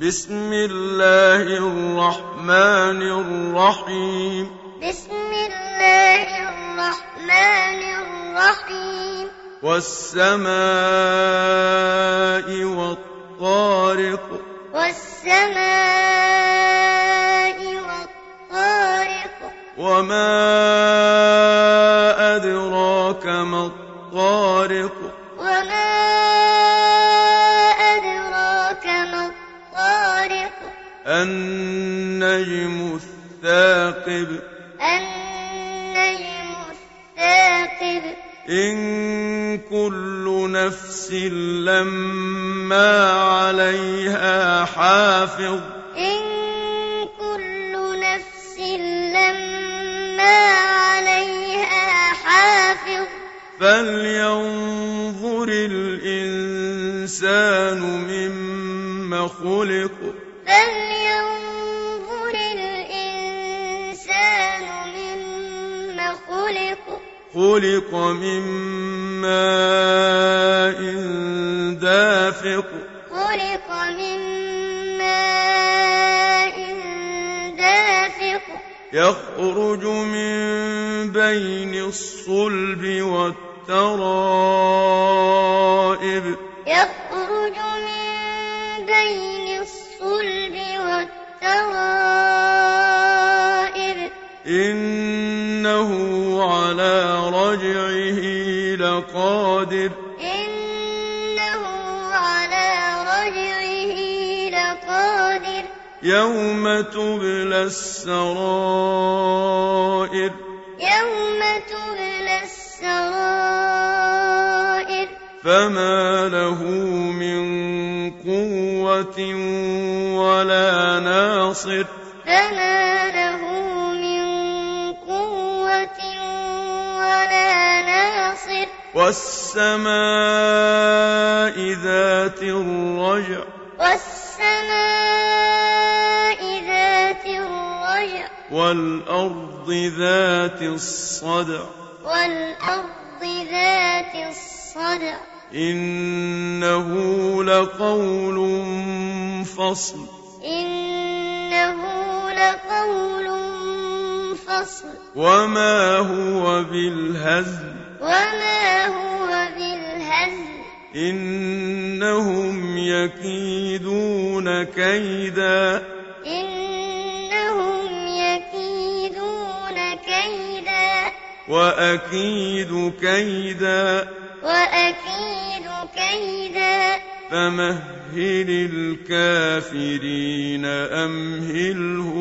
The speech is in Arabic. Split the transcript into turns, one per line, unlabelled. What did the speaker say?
بسم الله الرحمن الرحيم
بسم الله الرحمن الرحيم
والسماء والطارق
والسماء والطارق
وما أدراك ما الطارق
وما أدراك ما الطارق
النجم الثاقب
النجم الثاقب
إن كل نفس لما عليها حافظ
إن كل نفس لما عليها حافظ
فلينظر الإنسان مما خلق
فلينظر الإنسان مما خلق
خلق من ماء دافق
خلق من ماء دافق
يخرج من بين الصلب والترائب
يخرج من بين الصلب والترائب
إنه على رجعه لقادر
إنه على رجعه لقادر
يوم تبلى السرائر
يوم تبلى السرائر
فما له من قوة ولا ناصر
فما له من قوة ولا ناصر
والسماء ذات الرجع
والسماء ذات الرجع
والأرض ذات الصدع
والأرض ذات الصدع
إنه لقول فصل
إنه لقول فصل
وما هو بالهزل
وما هو بالهزل
إنهم يكيدون كيدا
إنهم يكيدون كيدا
وأكيد كيدا
وأكيد كيدا
فمهل الكافرين أمهلهم